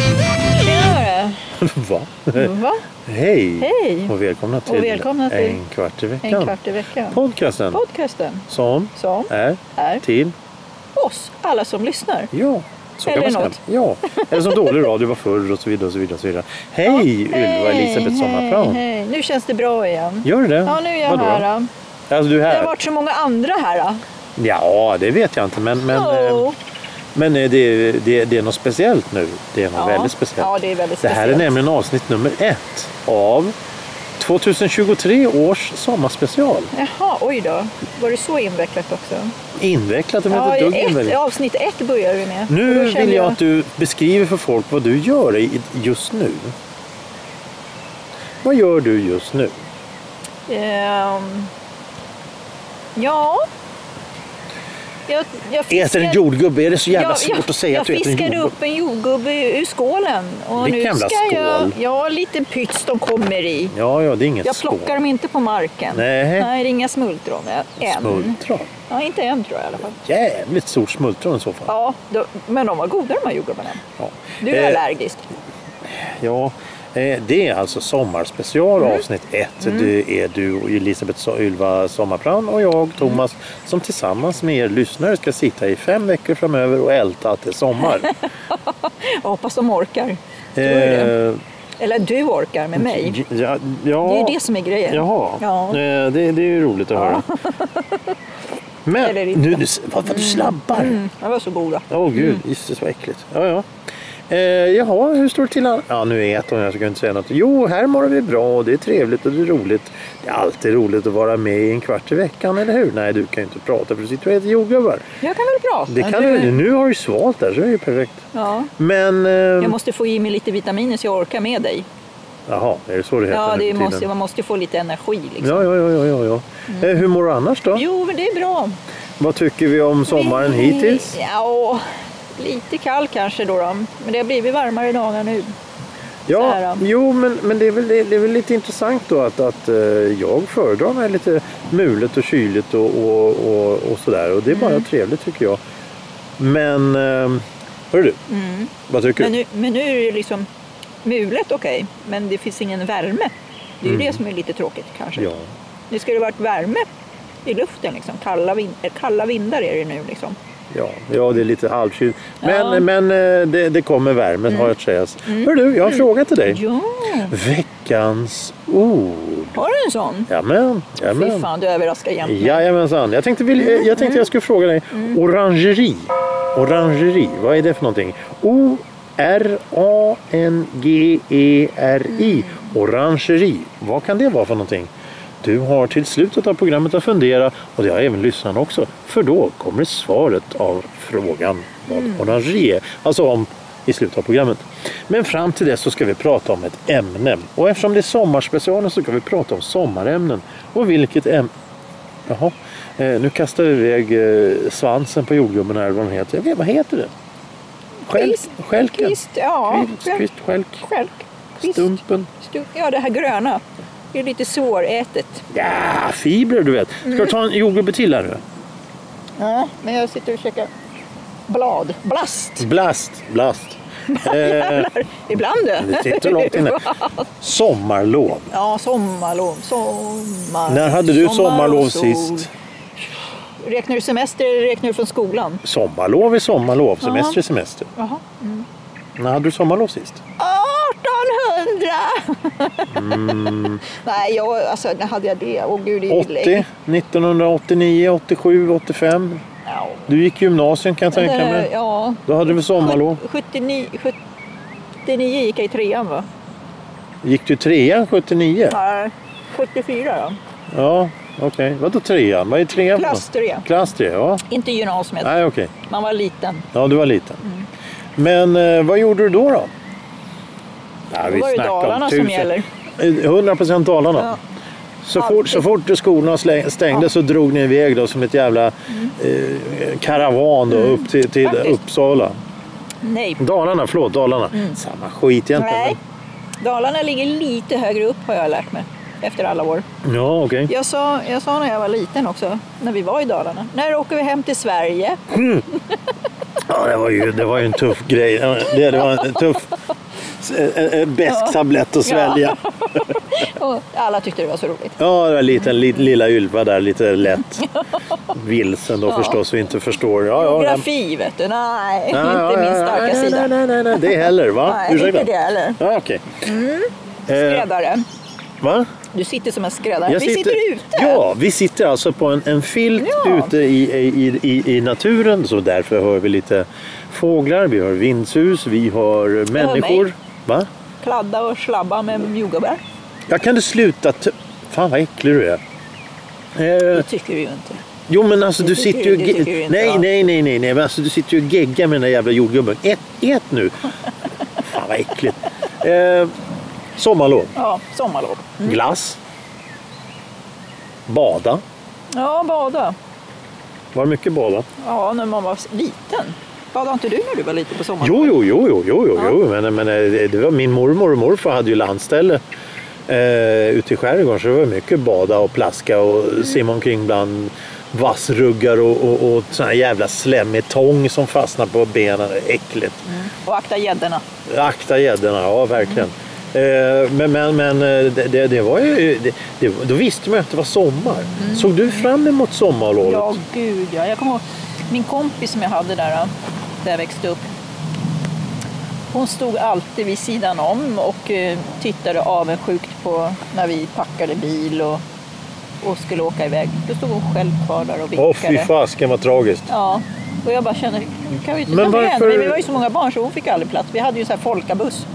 Tjenare! Va? Va? Hej! Hej! Och välkomna till, Och välkomna till En kvart i veckan. En kvart i veckan. Podcasten Podcasten som som är är till oss, alla som lyssnar. ja. Så Eller kan man något. säga. Ja. Eller som dålig radio var förr och så vidare. Och så vidare, och så vidare. Hej Ylva Elisabeth Sommarplan! hej. Nu känns det bra igen. Gör du det? Ja, nu är jag Vadå? här. Då. Alltså du är Det här? har varit så många andra här. Då. Ja, det vet jag inte. Men, men, eh, Oh. men eh, det, det, det är något speciellt nu. Det är något Ja. eh, väldigt speciellt. Ja, det är väldigt Det här är speciellt. nämligen avsnitt nummer ett av 2023 års sommarspecial. Jaha, oj då. Var det så invecklat också? Invecklat, det var Ja, inte ett dugg ett, invecklat. avsnitt ett börjar vi med. Och då Nu känner vill jag att du beskriver för folk vad du gör i- just nu. Vad gör du just nu? Ehm, ja. Jag, jag Äter en fiskar- jordgubbe? Är det så jävla jag, svårt jag, att säga jag att du äter en fiskade jordgubbe? upp en jordgubbe ur skålen. Och Vilken nu jävla ska Jag, skål. ja, lite pyts de kommer i. Ja, ja, det är inget Jag plockar skål. dem inte på marken. Nej. det är inga smultron. Än. Smultron. Ja, inte än tror jag i alla fall. Jävligt stort smultron i så fall. Ja, då, men de var goda de här jordgubbarna. Ja. Du är Eh, allergisk. Ja, eh, det är alltså Sommarspecial Mm. avsnitt 1. Det är du och Elisabeth So- Ylva Sommarplan och jag Thomas Mm. som tillsammans med er lyssnare ska sitta i fem veckor framöver och älta att det är sommar. Jag hoppas de orkar. Tror du det? Eh, Eller du orkar med mig. ja, ja, Det är ju det som är grejen. Jaha, Ja. Eh, det, det är ju roligt att höra. Men Eller nu, inte. nu, vad, vad du slabbar! Åh Mm, de var så goda. gud, jisses vad äckligt. Ja, ja. Eh, jaha, hur står det till? an- Ja, nu äter hon, jag ska inte säga något. Jo, här mår vi bra och det är trevligt och det är roligt. Det är alltid roligt att vara med i en kvart i veckan, eller hur? Nej, du kan ju inte prata för du sitter och äter jordgubbar. Jag kan väl prata. Det kan du, nu har du ju svalt där, så det är ju perfekt. Ja. Men... Eh, Jag måste få i mig lite vitaminer så jag orkar med dig. Jaha, är det så det heter Ja, det nu för tiden? måste, man måste få lite energi. Liksom. Ja, ja, ja. ja, ja, ja. Eh, Hur mår du annars då? Mm. Jo, men det är bra. Vad tycker vi om sommaren hittills? Ja, lite kall kanske då, då. Men det har blivit varmare dagar nu. så här Ja, då. jo, men, men det, är väl, det är väl lite intressant då att, att eh, jag föredrar när det är lite mulet och kyligt och, och, och, och sådär. Och det är bara Mm. trevligt tycker jag. Men, eh, hörru du, vad tycker Mm. Men du? nu, men nu är det liksom mulet okej, men det finns ingen värme. Det är ju det som är lite tråkigt kanske. Mm. Ja. Nu ska det varit värme i luften liksom. Kalla, vin- eh, kalla vindar är det nu liksom. Ja, ja, det är lite halvkyligt. Men, Ja. Mm. men eh, det, det kommer värmen har jag att säga. Hör du, jag har en fråga till dig. Ja, Veckans ord. har du en sån? Jajamän, jajamän. Fy fan, du överraskar jämt. Jajamensan. Jag tänkte, vill, jag tänkte jag skulle fråga dig. Orangeri. Orangeri, vad är det för någonting? O-R-A-N-G-E-R-I. E Orangeri. Vad kan det vara för någonting? Du har till slutet av programmet att fundera och det har även lyssnarna också. För då kommer svaret av frågan vad orangeri är. Alltså om i slutet av programmet. Men fram till dess så ska vi prata om ett ämne. Och eftersom det är sommarspecialen så ska vi prata om sommarämnen. Och vilket ämne Jaha. Eh, nu kastar du iväg eh, svansen på jordgubben här, vad den heter. Jag vet, vad heter det? Skälk? Kvist. Skälken? Kvist, ja. Kvist, kvist, skälk. Skälk. Kvist. Stumpen. Stu- Ja, det här gröna. Det är lite svårätet. Ja, fibrer du vet. Ska du ta en jordgubbe till här nu? Ja, men jag sitter och käkar blad. Blast! Blast. Blast. Eh, Jävlar, Ibland det du. sitter långt inne. Sommarlov. Ja, sommarlov. Sommar, När hade du sommarlov och sol. sist? Räknar du semester eller räknar du från skolan? Sommarlov är sommarlov, semester Ja. är semester. Jaha. När hade du sommarlov sist? 1800! Mm. Nej, jag, alltså, när hade jag det? Åh gud, det är ju 80, länge. 1989, 87, 85. Ja. Du gick gymnasium kan jag tänka Där, mig. Eh, ja. Då hade du väl sommarlov? 79, 79 gick jag i trean va? Gick du trean 79? Nej, 74 då. Ja, okej. Vadå trean? Vad är trean? för Klass något? tre. Klass tre, ja. Inte gymnasiet. Nej, okej. Man var liten. Ja, du var liten. Mm. Men eh, vad gjorde du då? Då ja, Då var det snackar om Dalarna som tusen- gäller. Eh, 100% Dalarna. Ja. Så fort, så fort skolorna slä- stängde så drog ni iväg då som ett jävla eh, karavan då, upp till, till Mm. Faktiskt. Uppsala. Nej. Dalarna, förlåt, Dalarna. Samma skit egentligen. Mm. Nej. Dalarna ligger lite högre upp har jag lärt mig efter alla år. men- Ja, okej. Jag sa, jag sa när jag var liten också, när vi var i Dalarna, när åker vi hem till Sverige? Ja, det, var ju, det var ju en tuff grej. Det, det var en tuff... En, en besk tablett att svälja. Och alla tyckte det var så roligt. Ja, det var en liten li, lilla Ylva där, lite lätt vilsen då förstås och inte förstår. Ja, ja, den- Geografi vet du, nej, Ja, inte ja, min ja, starka nej, sida. Nej, nej, nej, nej, det heller va? Nej, inte det heller. Mm. Ja, okej. Eh, Skräddare. va? Du sitter som en skräddare. Jag vi sitter ute. Ja, vi sitter alltså på en, en filt Ja. ute i, i, i, i naturen. Så därför hör vi lite fåglar, vi hör vindsus, vi hör människor. mig. Va? Kladda och slabba med mjugabär. Ja, kan du sluta? T- Fan vad äcklig du är. Eh, Det tycker du ju inte. jo men alltså Det du tycker sitter ju... du- det tycker du ge- inte, Nej, va? nej, nej, nej, nej, men alltså du sitter ju och geggar med den där jävla jordgubben. Ät, ät nu! Fan vad äckligt. Eh, sommarlov. Ja, sommarlov. Glass. Bada. Ja, bada. Var det mycket bada? Ja, när man var liten. Badade inte du när du var liten på sommaren? Jo, jo, jo, jo, jo, jo, jo. Men, men eh, det det var min mormor och morfar hade ju landställe eh, ute i skärgården så det var mycket bada och plaska och Mm. simma omkring bland vassruggar och, och, och sån här jävla slemmig tång som fastnar på benen. Äckligt. Och akta gäddorna. Akta gäddorna, ja verkligen. Eh, Men, men, men eh, det, det, det var ju, det, det, då visste man ju att det var sommar. Såg du fram emot sommarlovet? Ja, gud ja. Mm. Jag kommer ihåg min kompis som jag hade där, där jag växte upp. Hon stod alltid vid sidan om och eh, tittade avundsjukt på när vi packade bil och, och skulle åka iväg. Då stod hon själv kvar där och Åh fy vinkade. fasken vad tragiskt. ja. Och jag bara kände, nu kan vi inte Men ta med henne. varför- Men vi var ju så många barn så hon fick aldrig plats. Vi hade ju så här folkabuss.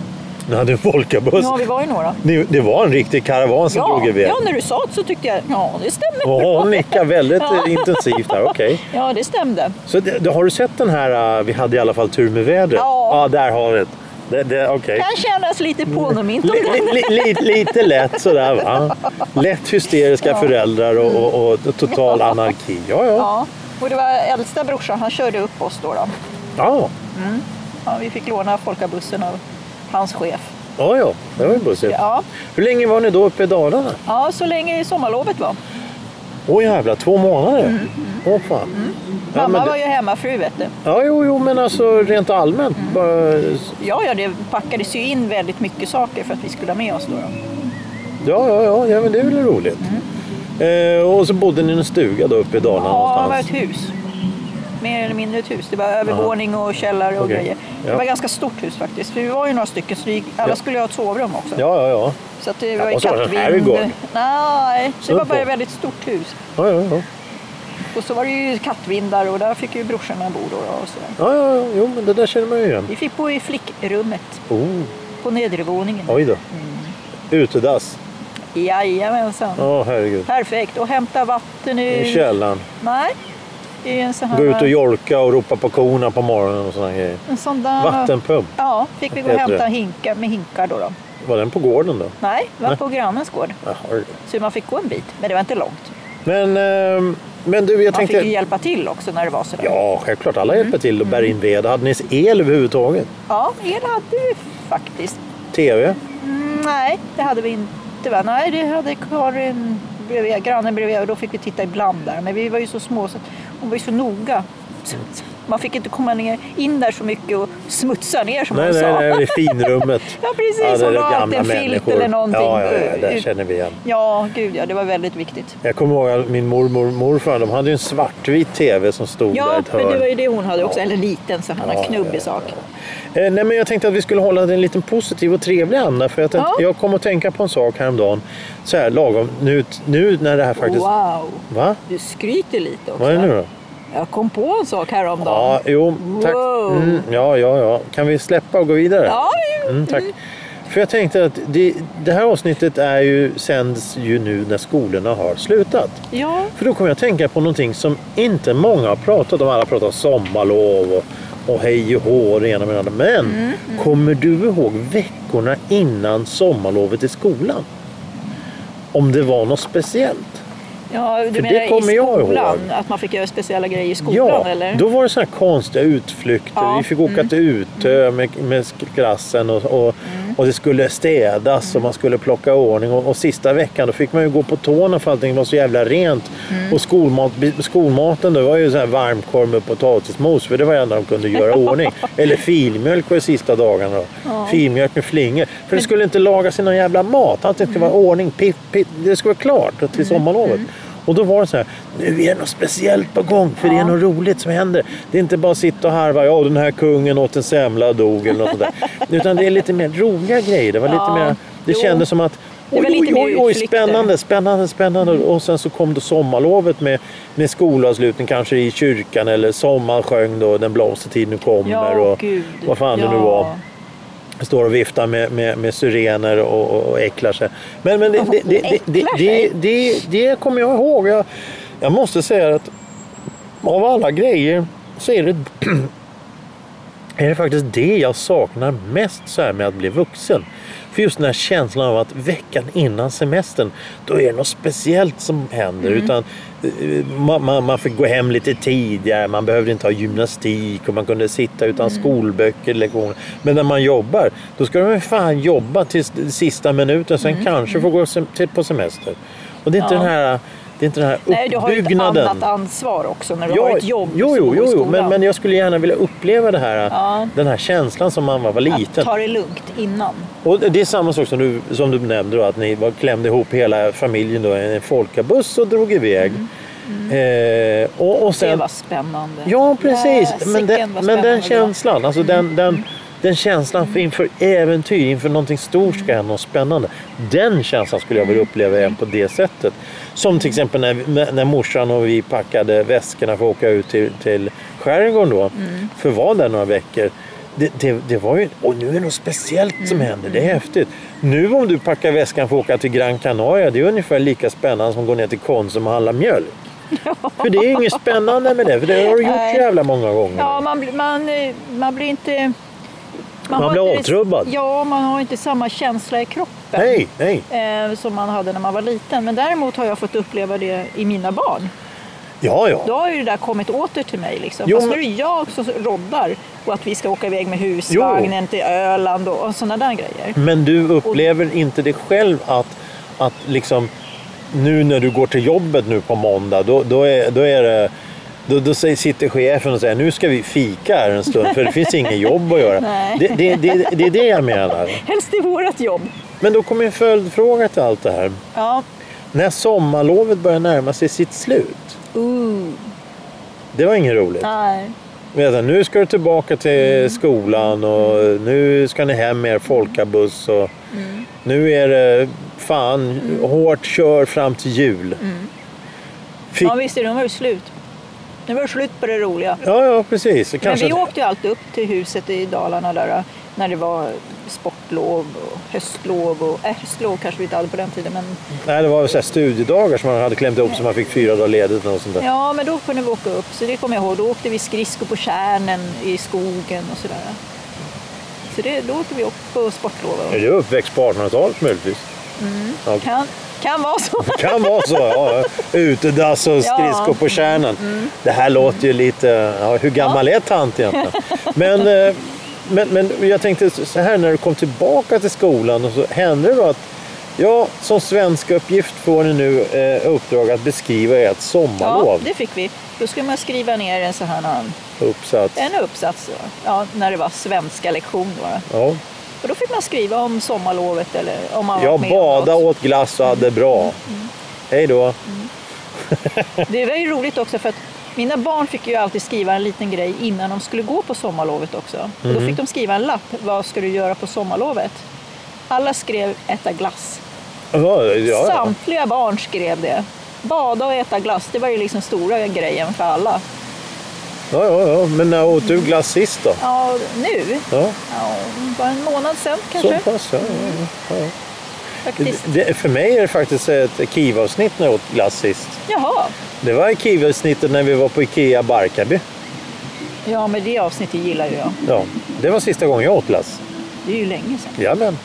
Ni hade en folkabuss. Ja, vi var ju några. Ni- Det var en riktig karavan som Ja, drog iväg. ja, när du sa det så tyckte jag, ja det stämmer. Ja, hon nickar väldigt Ja. eh, intensivt här. Okej. Ja, det stämde. Så det, det, har du sett den här, eh, vi hade i alla fall tur med vädret? Ja. Ja, där har vi det. det, det Okej. Kan kännas lite pånomint om Li- det. li- li- li- Lite lätt sådär va? Lätt hysteriska föräldrar och, och, och total anarki. Ja, ja. Ja, och det var äldsta brorsan, han körde upp oss då. då. Ja, Ja, vi fick låna folkabussen av hans chef. ja, ja. det var ju bussigt. Ja, Hur länge var ni då uppe i Dalarna? ja så länge sommarlovet var. Åh jävlar, två månader? Mm, Åh fan. Ja, men Mamma det- var ju hemmafru vet du. Ja, jo, jo, men alltså rent allmänt. Mm. Bara, Ja, ja, det packades ju in väldigt mycket saker för att vi skulle ha med oss då. då. ja, ja, ja, ja, men det är väl roligt. Eh, och så bodde ni i en stuga då uppe i Dalarna Mm. Ja, det var någonstans? ett hus. Mer eller mindre ett hus. Det var övervåning och källare och Okej. grejer. Det Ja. var ganska stort hus faktiskt. För vi var ju några stycken så vi, Ja. alla skulle ha ett sovrum också. Ja, ja, ja. Så att det Ja, var ju och så var det en kattvind. herrgård. Nej, så det var Snudd på. bara ett väldigt stort hus. ja, ja, ja. Och så var det ju kattvindar och där fick ju brorsorna bo då. Och så. ja, ja, ja. Jo, men det där känner man ju igen. Vi fick bo i flickrummet Oh, på nedervåningen. oj då. Mm. Utedass. Jajamensan. Åh, herregud. Perfekt. Och hämta vatten I ur... källaren. Nej. I en sån här... Gå ut och jolka och ropa på korna på morgonen och sådana grejer. En sån där... Vattenpump. Ja, fick vi gå och Vad heter hämta det? hinkar med hinkar då. då. Var den på gården då? Nej, det var Nej. på grannens gård. Jaha. Så man fick gå en bit, men det var inte långt. Men, ehm, men du, jag Man tänkte... fick ju hjälpa till också när det var sådär. Ja, självklart. Alla hjälper till och bär in ved. Hade ni el överhuvudtaget? ja, el hade vi faktiskt. TV? Mm, nej, det hade vi inte. Va? Nej, det hade Karin bredvid, grannen bredvid och då fick vi titta ibland där. Men vi var ju så små så att hon var ju så noga. Så- så- Man fick inte komma ner, in där så mycket och smutsa ner som Nej, hon nej, sa. nej, det är finrummet. Ja, precis. Ja, det är hon det la alltid gamla en filt människor. eller någonting. Ja, ja, ja, där ut. känner vi igen. Ja, gud ja, det var väldigt viktigt. Jag kommer ihåg att min mormor och morfar de hade ju en svartvit TV som stod där i Ja, ett men hörn. det var ju det hon hade också. Eller liten, så han Ja, har knubbig ja, sak. Eh, nej, men jag tänkte att vi skulle hålla det en liten positiv och trevlig anda. För jag, tänkte, Ja. jag kom att tänka på en sak häromdagen. Så här lagom, nu, nu när det här faktiskt... Wow! Va? Du skryter lite också. Vad är det nu då? Jag kom på en sak häromdagen. Ja, jo, tack. Wow. Mm, ja, ja, ja. Kan vi släppa och gå vidare? Ja, Mm, tack. För jag tänkte att det, det här avsnittet är ju, sänds ju nu när skolorna har slutat. ja. För då kommer jag att tänka på någonting som inte många har pratat om. Alla pratar om sommarlov och, och hej och hå och det ena med det andra. Men Mm, kommer du ihåg veckorna innan sommarlovet i skolan? Om det var något speciellt? Ja, du För menar det kommer i jag ihåg. skolan? Att man fick göra speciella grejer i skolan? ja, eller? då var det sådana här konstiga utflykter. Ja, Mm. Vi fick åka till Utö med, med klassen och, och, Mm. och det skulle städas och man skulle plocka i ordning. Och, och sista veckan då fick man ju gå på tårna för allting var så jävla rent. Mm. Och skolmat, skolmaten då var ju så här varmkorv med potatismos för det var det enda de kunde göra i ordning. Eller filmjölk var det sista dagarna. Då. Filmjölk med flingor. För det skulle inte lagas i någon jävla mat. Allting skulle vara i ordning. Piff, piff. Det skulle vara klart Mm. till sommarlovet. Och då var det så här, nu är det något speciellt på gång för det är något roligt som händer. Det är inte bara att sitta och harva, ja den här kungen åt en semla och dog eller något sånt där. Utan det är lite mer roliga grejer. Det, var lite Ja, mer, det jo. kändes som att Det var oj, oj, lite mer oj, oj, utflykter. Mm. spännande, spännande, spännande. Och sen så kom då sommarlovet med, med skolavslutning kanske i kyrkan eller sommarsjöng då, den blomstertid nu kommer. Ja, och gud. vad fan ja. det nu var står och viftar med, med, med syrener och, och, och äcklar sig. Men, men det, det, det, det, det, det, det, det kommer jag ihåg. Jag, jag måste säga att av alla grejer så är det, är det faktiskt det jag saknar mest så här med att bli vuxen. För just den här känslan av att veckan innan semestern, då är det något speciellt som händer. Mm. Utan, eh, man, man, man fick gå hem lite tidigare, man behövde inte ha gymnastik och man kunde sitta utan Mm. skolböcker, lektioner. Men när man jobbar, då ska man fan jobba till sista minuten, sen kanske få gå sem- till på semester. Och det är inte Mm. Ja. den här, det är inte den här Nej, du har ju ett uppbyggnaden. annat ansvar också när du Ja, har ett jobb. Jo, som jo, går i jo, jo. skolan. Men, men jag skulle gärna vilja uppleva det här, Ja. den här känslan som man var, var liten. Att ta det lugnt innan. Och det är samma sak som du, som du nämnde, då, att ni var, klämde ihop hela familjen då, i en folkabuss och drog iväg. Eh, och, och sen, Mm. Det var spännande. Ja, precis. men Fasiken, den, vad men den spännande Mm. det var. känslan, alltså den, den, den känslan för inför äventyr, inför någonting stort ska hända, något spännande. Den känslan skulle jag vilja Mm. uppleva igen på det sättet. Som till exempel när, när- när morsan och vi packade väskorna för att åka ut till, till skärgården då, Mm. för att vara där några veckor. Det, det, det var ju, och nu är det något speciellt Mm. som händer, det är häftigt. Nu om du packar väskan för att åka till Gran Canaria, det är ungefär lika spännande som att gå ner till Konsum och handla mjölk. För det är ju inget spännande med det, för det har du gjort så Nej. jävla många gånger. Ja, man, blir- man, eh, man blir inte... Man har blir inte- avtrubbad. Ja, man har inte samma känsla i kroppen. nej, nej. eh, som man hade när man var liten. Men däremot har jag fått uppleva det i mina barn. Ja, ja. Då har ju det där kommit åter till mig. Liksom. Jo, Fast nu men- är det jag som roddar och att vi ska åka iväg med husvagnen till Öland och, och sådana där grejer. Men du upplever inte det själv att, att liksom, nu när du går till jobbet nu på måndag, då, då, är, då är det då, då säger- sitter chefen och säger nu ska vi fika här en stund för det finns inget jobb att göra. Nej. Det, det, det, det är det jag menar. Helst i vårt jobb. Men då kommer en följdfråga till allt det här. Ja. När sommarlovet börjar närma sig sitt slut, Ooh. det var inget roligt. Nej. Vänta, nu ska du tillbaka till Mm. skolan och nu ska ni hem med er folkabuss. Och Mm. Nu är det fan hårt kör fram till jul. Fick... Mm. Ja, visst, nu var det slut. Nu var det slut på det roliga. Ja, ja, precis. Det Kanske... Men vi åkte ju alltid upp till huset i Dalarna där eh, när det var sportlov och höstlov. Och, äh, höstlov kanske vi inte hade på den tiden, men Nej, det var väl så här studiedagar som man hade klämt ihop så man fick fyra dagar ledigt. Och sånt där. Ja, men då kunde vi åka upp. Så det kommer jag ihåg. Då åkte vi skridskor på kärnen i skogen och sådär. Så det, då åkte vi upp på Är sportlovet. det uppväxt på 1800-talet möjligtvis? Ja, Kan, kan vara så. kan vara så. Ja. Utedass och skridskor på kärnan. Mm. Det här låter ju lite... Ja, hur gammal är tant egentligen? Men, eh, men, men jag tänkte så här, när du kom tillbaka till skolan och så hände det då att Ja, som svensk uppgift får ni nu eh, uppdrag att beskriva ert Ja, sommarlov. det fick vi. Då skulle man skriva ner en sån här Uppsats. en uppsats då. ja, när det var svenska lektion. Då. Ja. Och då fick man skriva om sommarlovet eller om man Jag varit med Mm, om något. badade, åt glass och hade det bra. Hej Mm. då. Det var ju roligt också för att mina barn fick ju alltid skriva en liten grej innan de skulle gå på sommarlovet också. Och Mm. då fick de skriva en lapp. Vad ska du göra på sommarlovet? Alla skrev äta glass. Ja, ja, ja. Samtliga barn skrev det. Bada och äta glass, det var ju liksom stora grejen för alla. ja, ja, ja. Men när åt du glass sist då? Ja, nu? Ja, Ja, bara en månad sen så kanske. pass. Ja, ja, ja. Faktiskt. Det, för mig är det faktiskt ett Kiva-avsnitt när jag åt glass sist. Jaha. Det var Kiva-avsnittet när vi var på Ikea Barkarby. Ja, men det avsnittet gillar ju jag. Ja, det var sista gången jag åt glass. Det är ju länge sedan. Jajamän.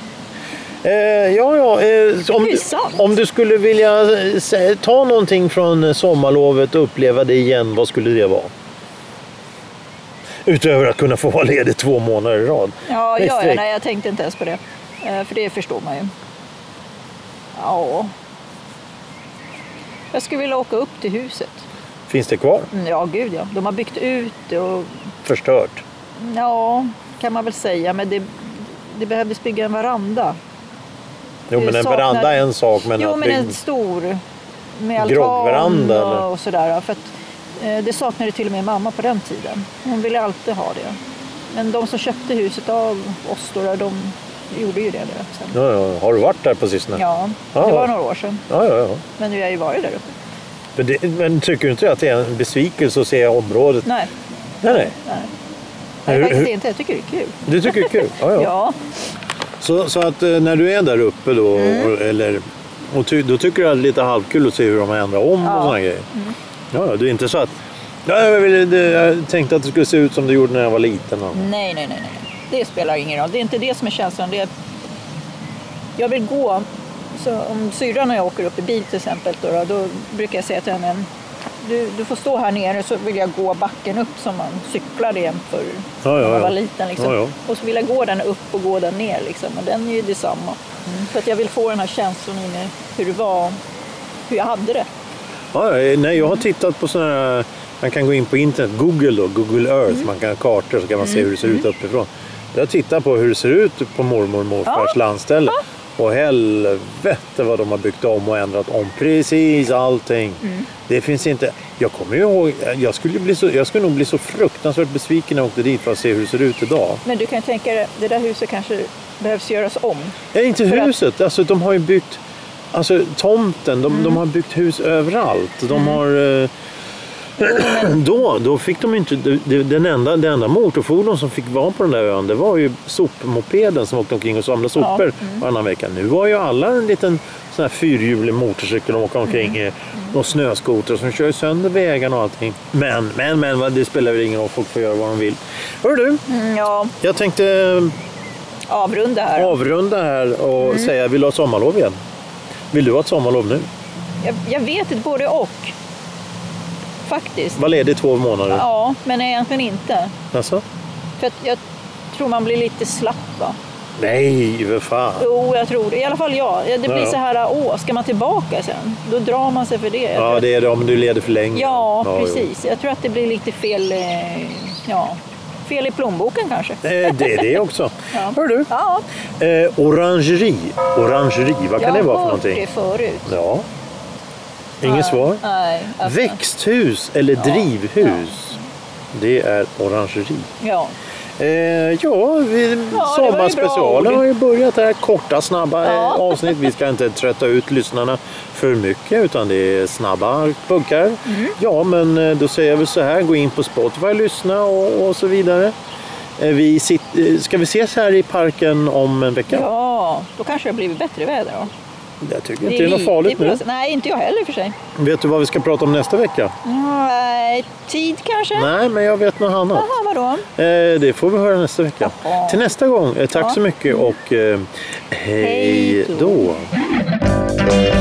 Eh, ja, ja. Eh, om, Hyfsat. om du skulle vilja eh, sä- ta någonting från eh, sommarlovet och uppleva det igen, vad skulle det vara? Utöver att kunna få vara ledig två månader i rad. Ja, Nej, ja, ja streck. nej, jag tänkte inte ens på det. Eh, För det förstår man ju. Ja. Jag skulle vilja åka upp till huset. Finns det kvar? Mm, Ja, gud ja. De har byggt ut det och Förstört? ja, kan man väl säga. Men det, det behövdes bygga en veranda. Jo, Det men en saknar- veranda är en sak, men jo, att men bygg- en stor. Med altan Groggveranda, eller? och, och sådär. För att, eh, det saknade till och med mamma på den tiden. Hon ville alltid ha det. Men de som köpte huset av oss då, de gjorde ju det. Där sen. Ja, ja. Har du varit där på sistone? Ja, Ja. det var några år sedan. Ja, ja, ja. Men nu har jag ju varit där uppe. Men, det, men tycker du inte att det är en besvikelse att se området? Nej, Nej, nej. nej Hur- faktiskt hur- inte. Jag tycker det är kul. Du tycker det är kul? Ja, ja. Ja, Så, så att eh, när du är där uppe då, Mm. och, eller, och ty, då tycker du att det är lite halvkul att se hur de har ändrat om Ja. och Mm. sådana grejer? Ja, ja, det är inte så att... Ja, jag, ville, det, jag tänkte att det skulle se ut som det gjorde när jag var liten. Och, nej, nej, nej, nej. Det spelar ingen roll. Det är inte det som är känslan. Det är... Jag vill gå. Så om syrran och jag åker upp i bil till exempel, då, då, då brukar jag säga till henne du, du får stå här nere så vill jag gå backen upp som man cyklade igen förr Ja, ja, när man var ja. liten. Liksom. Ja, ja. Och så vill jag gå den upp och gå den ner. Liksom. Och den är ju detsamma. Mm. För att jag vill få den här känslan i mig hur det var, hur jag hade det. Ja, ja, nej, jag har tittat på sådana här... Man kan gå in på internet, Google då, Google Earth, man kan ha kartor så kan man se hur det ser ut uppifrån. Jag tittar på hur det ser ut på mormor och morfars landställe. Och helvete vad de har byggt om och ändrat om precis allting. Det finns inte... Jag kommer ju ihåg, jag skulle, bli så, jag skulle nog bli så fruktansvärt besviken när jag åkte dit för att se hur det ser ut idag. Men du kan tänka dig, det där huset kanske behövs göras om. Nej, inte För att- huset. Alltså, de har ju byggt... Alltså tomten, de, Mm. de har byggt hus överallt. De har... Eh, då, då fick de ju inte... det- det- Den enda, det enda motorfordon som fick vara på den där ön, det var ju sopmopeden som åkte omkring och samlade sopor Mm. varannan vecka. Nu har ju alla en liten sån här fyrhjulig motorcykel och åker Mm. omkring i. Och snöskoter som kör sönder vägarna och allting. Men, men, men, vad- det spelar väl ingen roll. Folk får göra vad de vill. Hör du, Mm, ja, jag tänkte eh, avrunda här. avrunda här och Mm. säga, vill du ha sommarlov igen? Vill du ha ett sommarlov nu? Jag, jag vet inte, både och. Faktiskt. Var ledig två månader. Ja, men egentligen inte. Alltså? För att jag tror man blir lite slapp va? Nej, för fan. Jo, jag tror det. I alla fall jag. Ja, Det Ja, blir ja. så här, åh, ska man tillbaka sen? Då drar man sig för det. Jag tror Ja, att- det är det om du leder för länge. ja, jo. precis. Jag tror att det blir lite fel, eh, ja, fel i plånboken kanske. Eh, Det är det också. Ja. Hör du? Ja, Eh, orangeri. Orangeri, vad kan jag det har vara för hört någonting? det förut. Ja. Inget Nej, svar? Nej. alltså, Växthus eller drivhus. Det är orangeri. Ja. Eh, ja, vi, bra sommarspecialen ord. har ju börjat här. Korta, snabba eh, Ja. avsnitt. Vi ska inte trötta ut lyssnarna för mycket utan det är snabba puckar. Ja, men eh, då säger jag väl så här. Gå in på Spotify, lyssna och, och så vidare. Eh, vi sit, eh, ska vi ses här i parken om en vecka? ja, då kanske det har blivit bättre väder då. Jag tycker inte det är något lite farligt på nu. något sätt- Nej, inte jag heller i och för sig. Vet du vad vi ska prata om nästa vecka? Nej, tid kanske? Nej, men jag vet något annat. Jaha, vadå? Eh, det får vi höra nästa vecka. Jaha. Till nästa gång, eh, tack Ja. så mycket och eh, hej Hej då. då.